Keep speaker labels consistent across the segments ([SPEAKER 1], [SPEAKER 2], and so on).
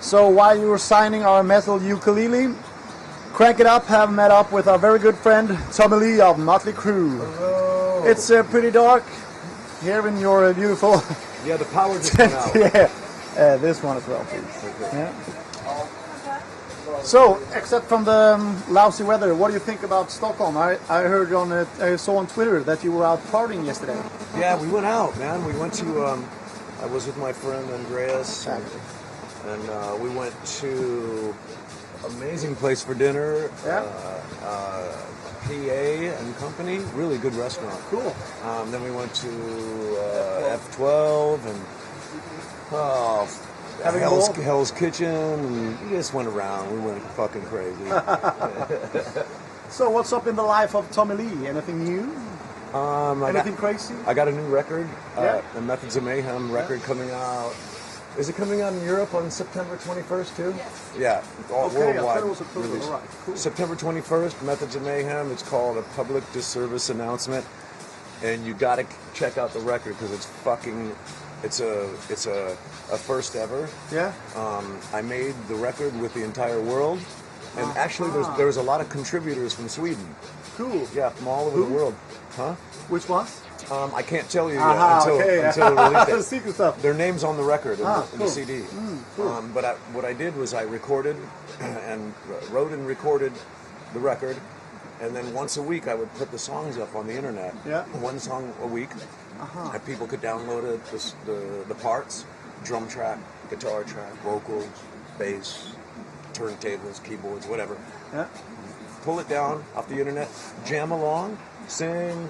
[SPEAKER 1] So while you were signing our metal ukulele, Crank It Up have met up with our very good friend Tommy Lee of Motley Crue.
[SPEAKER 2] Oh.
[SPEAKER 1] It's uh, pretty dark here in your uh, beautiful
[SPEAKER 2] Yeah, the power just went out.
[SPEAKER 1] yeah, uh, this one as well, please. Yeah. So, except from the um, lousy weather, what do you think about Stockholm? I, I heard on uh, I saw on Twitter that you were out partying yesterday.
[SPEAKER 2] Yeah, we went out, man. We went to. Um, I was with my friend Andreas, and, and uh, we went to amazing place for dinner.
[SPEAKER 1] Yeah.
[SPEAKER 2] Uh, uh, PA and Company, really good restaurant.
[SPEAKER 1] Cool.
[SPEAKER 2] Um, then we went to uh, F12 and oh,
[SPEAKER 1] Having a
[SPEAKER 2] Hell's,
[SPEAKER 1] ball?
[SPEAKER 2] Hell's Kitchen. And we just went around. We went fucking crazy.
[SPEAKER 1] So, what's up in the life of Tommy Lee? Anything new?
[SPEAKER 2] um, I got-
[SPEAKER 1] Anything crazy?
[SPEAKER 2] I got a new record,
[SPEAKER 1] Yeah.
[SPEAKER 2] uh, the Methods of Mayhem record coming out. Is it coming out in Europe on September 21st too? Yes. Yeah, all
[SPEAKER 1] Okay, I
[SPEAKER 2] worldwide.
[SPEAKER 1] thought it was October.
[SPEAKER 2] release.
[SPEAKER 1] All right, cool.
[SPEAKER 2] September 21st, Methods of Mayhem. It's called a public disservice announcement, and you got to check out the record because it's fucking, it's a, it's a, a first ever.
[SPEAKER 1] Yeah.
[SPEAKER 2] Um, I made the record with the entire world, and
[SPEAKER 1] Uh-huh.
[SPEAKER 2] actually there's
[SPEAKER 1] Aha.
[SPEAKER 2] there's a lot of contributors from Sweden.
[SPEAKER 1] Cool.
[SPEAKER 2] Yeah, from all over the
[SPEAKER 1] Who?
[SPEAKER 2] world, huh?
[SPEAKER 1] Which ones?
[SPEAKER 2] Um, I can't tell you
[SPEAKER 1] Aha,
[SPEAKER 2] yet until,
[SPEAKER 1] okay.
[SPEAKER 2] until the release date.
[SPEAKER 1] Secret stuff.
[SPEAKER 2] Their name's on the record in,
[SPEAKER 1] Ah,
[SPEAKER 2] the, in
[SPEAKER 1] cool.
[SPEAKER 2] the CD. um, but I, what I did was I recorded and wrote and recorded the record, and then once a week I would put the songs up on the internet.
[SPEAKER 1] Yeah.
[SPEAKER 2] One song a week. Uh-huh. And people could download it, the, s- the, the parts, drum track, guitar track, vocals, bass, turntables, keyboards, whatever
[SPEAKER 1] Yeah.
[SPEAKER 2] pull it down off the internet, jam along, sing,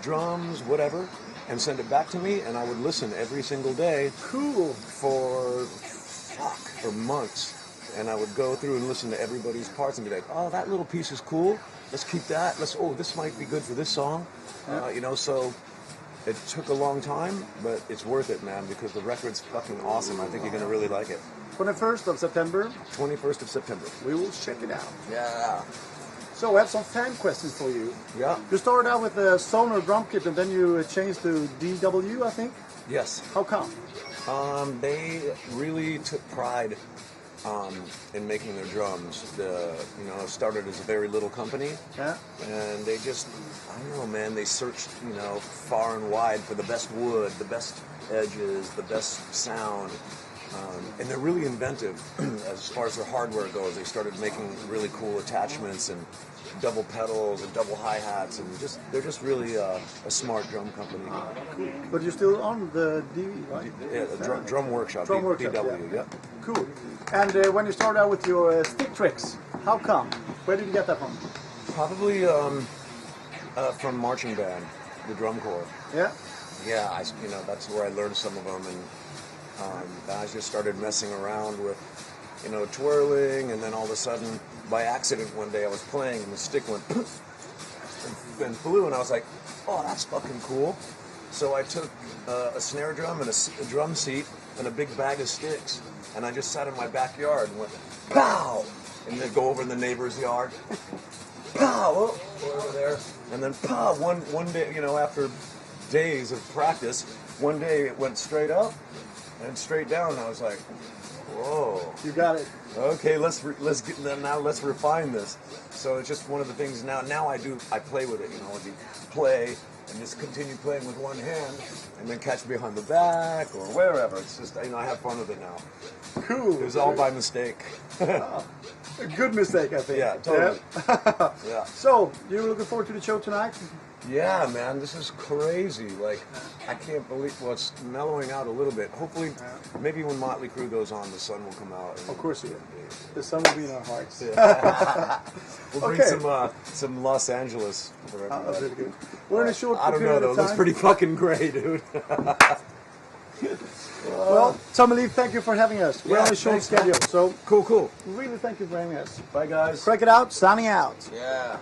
[SPEAKER 2] drums, whatever, and send it back to me, and I would listen every single day
[SPEAKER 1] Cool.
[SPEAKER 2] for fuck for months. And I would go through and listen to everybody's parts and be like, oh, that little piece is cool. Let's keep that. Let's oh, this might be good for this song. Uh, you know, so it took a long time, but it's worth it, man, because the record's fucking awesome. I think you're gonna really like it.
[SPEAKER 1] 21st of September,
[SPEAKER 2] 21st of September.
[SPEAKER 1] we will check it out.
[SPEAKER 2] Yeah.
[SPEAKER 1] So, I have some fan questions for you.
[SPEAKER 2] Yeah.
[SPEAKER 1] You started out with the Sonar drum kit and then you uh, changed to DW, I think.
[SPEAKER 2] Yes.
[SPEAKER 1] How come?
[SPEAKER 2] Um, they really took pride um, in making their drums. The you know it started as a very little company,
[SPEAKER 1] Yeah.
[SPEAKER 2] and they just I don't know, man. They searched you know far and wide for the best wood, the best edges, the best sound. Um, and they're really inventive as far as their hardware goes. They started making really cool attachments and double pedals and double hi hats, and just they're just really uh, a smart drum company.
[SPEAKER 1] But you're still on the DV, right?
[SPEAKER 2] Yeah, the drum, drum workshop,
[SPEAKER 1] Drum
[SPEAKER 2] D-
[SPEAKER 1] workshop,
[SPEAKER 2] DW.
[SPEAKER 1] yeah.
[SPEAKER 2] Yep.
[SPEAKER 1] Cool. And uh, when you started out with your uh, stick tricks, how come? Where did you get that from?
[SPEAKER 2] Probably um, uh, from marching band, the drum corps.
[SPEAKER 1] Yeah.
[SPEAKER 2] Yeah, I, you know that's where I learned some of them, and um, I just started messing around with, you know, twirling, and then all of a sudden, by accident, one day I was playing, and the stick went and, and flew, and I was like, oh, that's fucking cool. So I took uh, a snare drum and a, s- a drum seat and a big bag of sticks, and I just sat in my backyard and went pow, and then go over in the neighbor's yard pow, oh, we're over there, and then pow. One one day, you know, after days of practice, one day it went straight up and straight down. And I was like, whoa,
[SPEAKER 1] You got it.
[SPEAKER 2] okay, let's re- let's get now let's refine this. So it's just one of the things now. Now I do I play with it, you know, you play and just continue playing with one hand, and then catch behind the back or wherever. It's just you know I have fun with it now.
[SPEAKER 1] Cool.
[SPEAKER 2] It was all by mistake.
[SPEAKER 1] A good mistake, I think.
[SPEAKER 2] Yeah, totally. Yeah.
[SPEAKER 1] So, you're looking forward to the show tonight?
[SPEAKER 2] Yeah, man, this is crazy. Like, I can't believe well, it's mellowing out a little bit. Hopefully, maybe when Motley Crue goes on, the sun will come out. and
[SPEAKER 1] Of course you will. The sun will be in our hearts.
[SPEAKER 2] We'll bring
[SPEAKER 1] Okay.
[SPEAKER 2] some uh, some Los Angeles. For
[SPEAKER 1] Uh, that's really
[SPEAKER 2] everybody.
[SPEAKER 1] good. We're in a short
[SPEAKER 2] I don't know
[SPEAKER 1] period
[SPEAKER 2] though.
[SPEAKER 1] of
[SPEAKER 2] That's
[SPEAKER 1] time.
[SPEAKER 2] pretty fucking gray, dude.
[SPEAKER 1] Well, Tommy Lee, thank you for having us. We're
[SPEAKER 2] Yeah,
[SPEAKER 1] on a short
[SPEAKER 2] thanks, man.
[SPEAKER 1] schedule, so
[SPEAKER 2] cool, cool.
[SPEAKER 1] really thank you for having us.
[SPEAKER 2] Bye, guys.
[SPEAKER 1] Crack it out, signing out.
[SPEAKER 2] Yeah.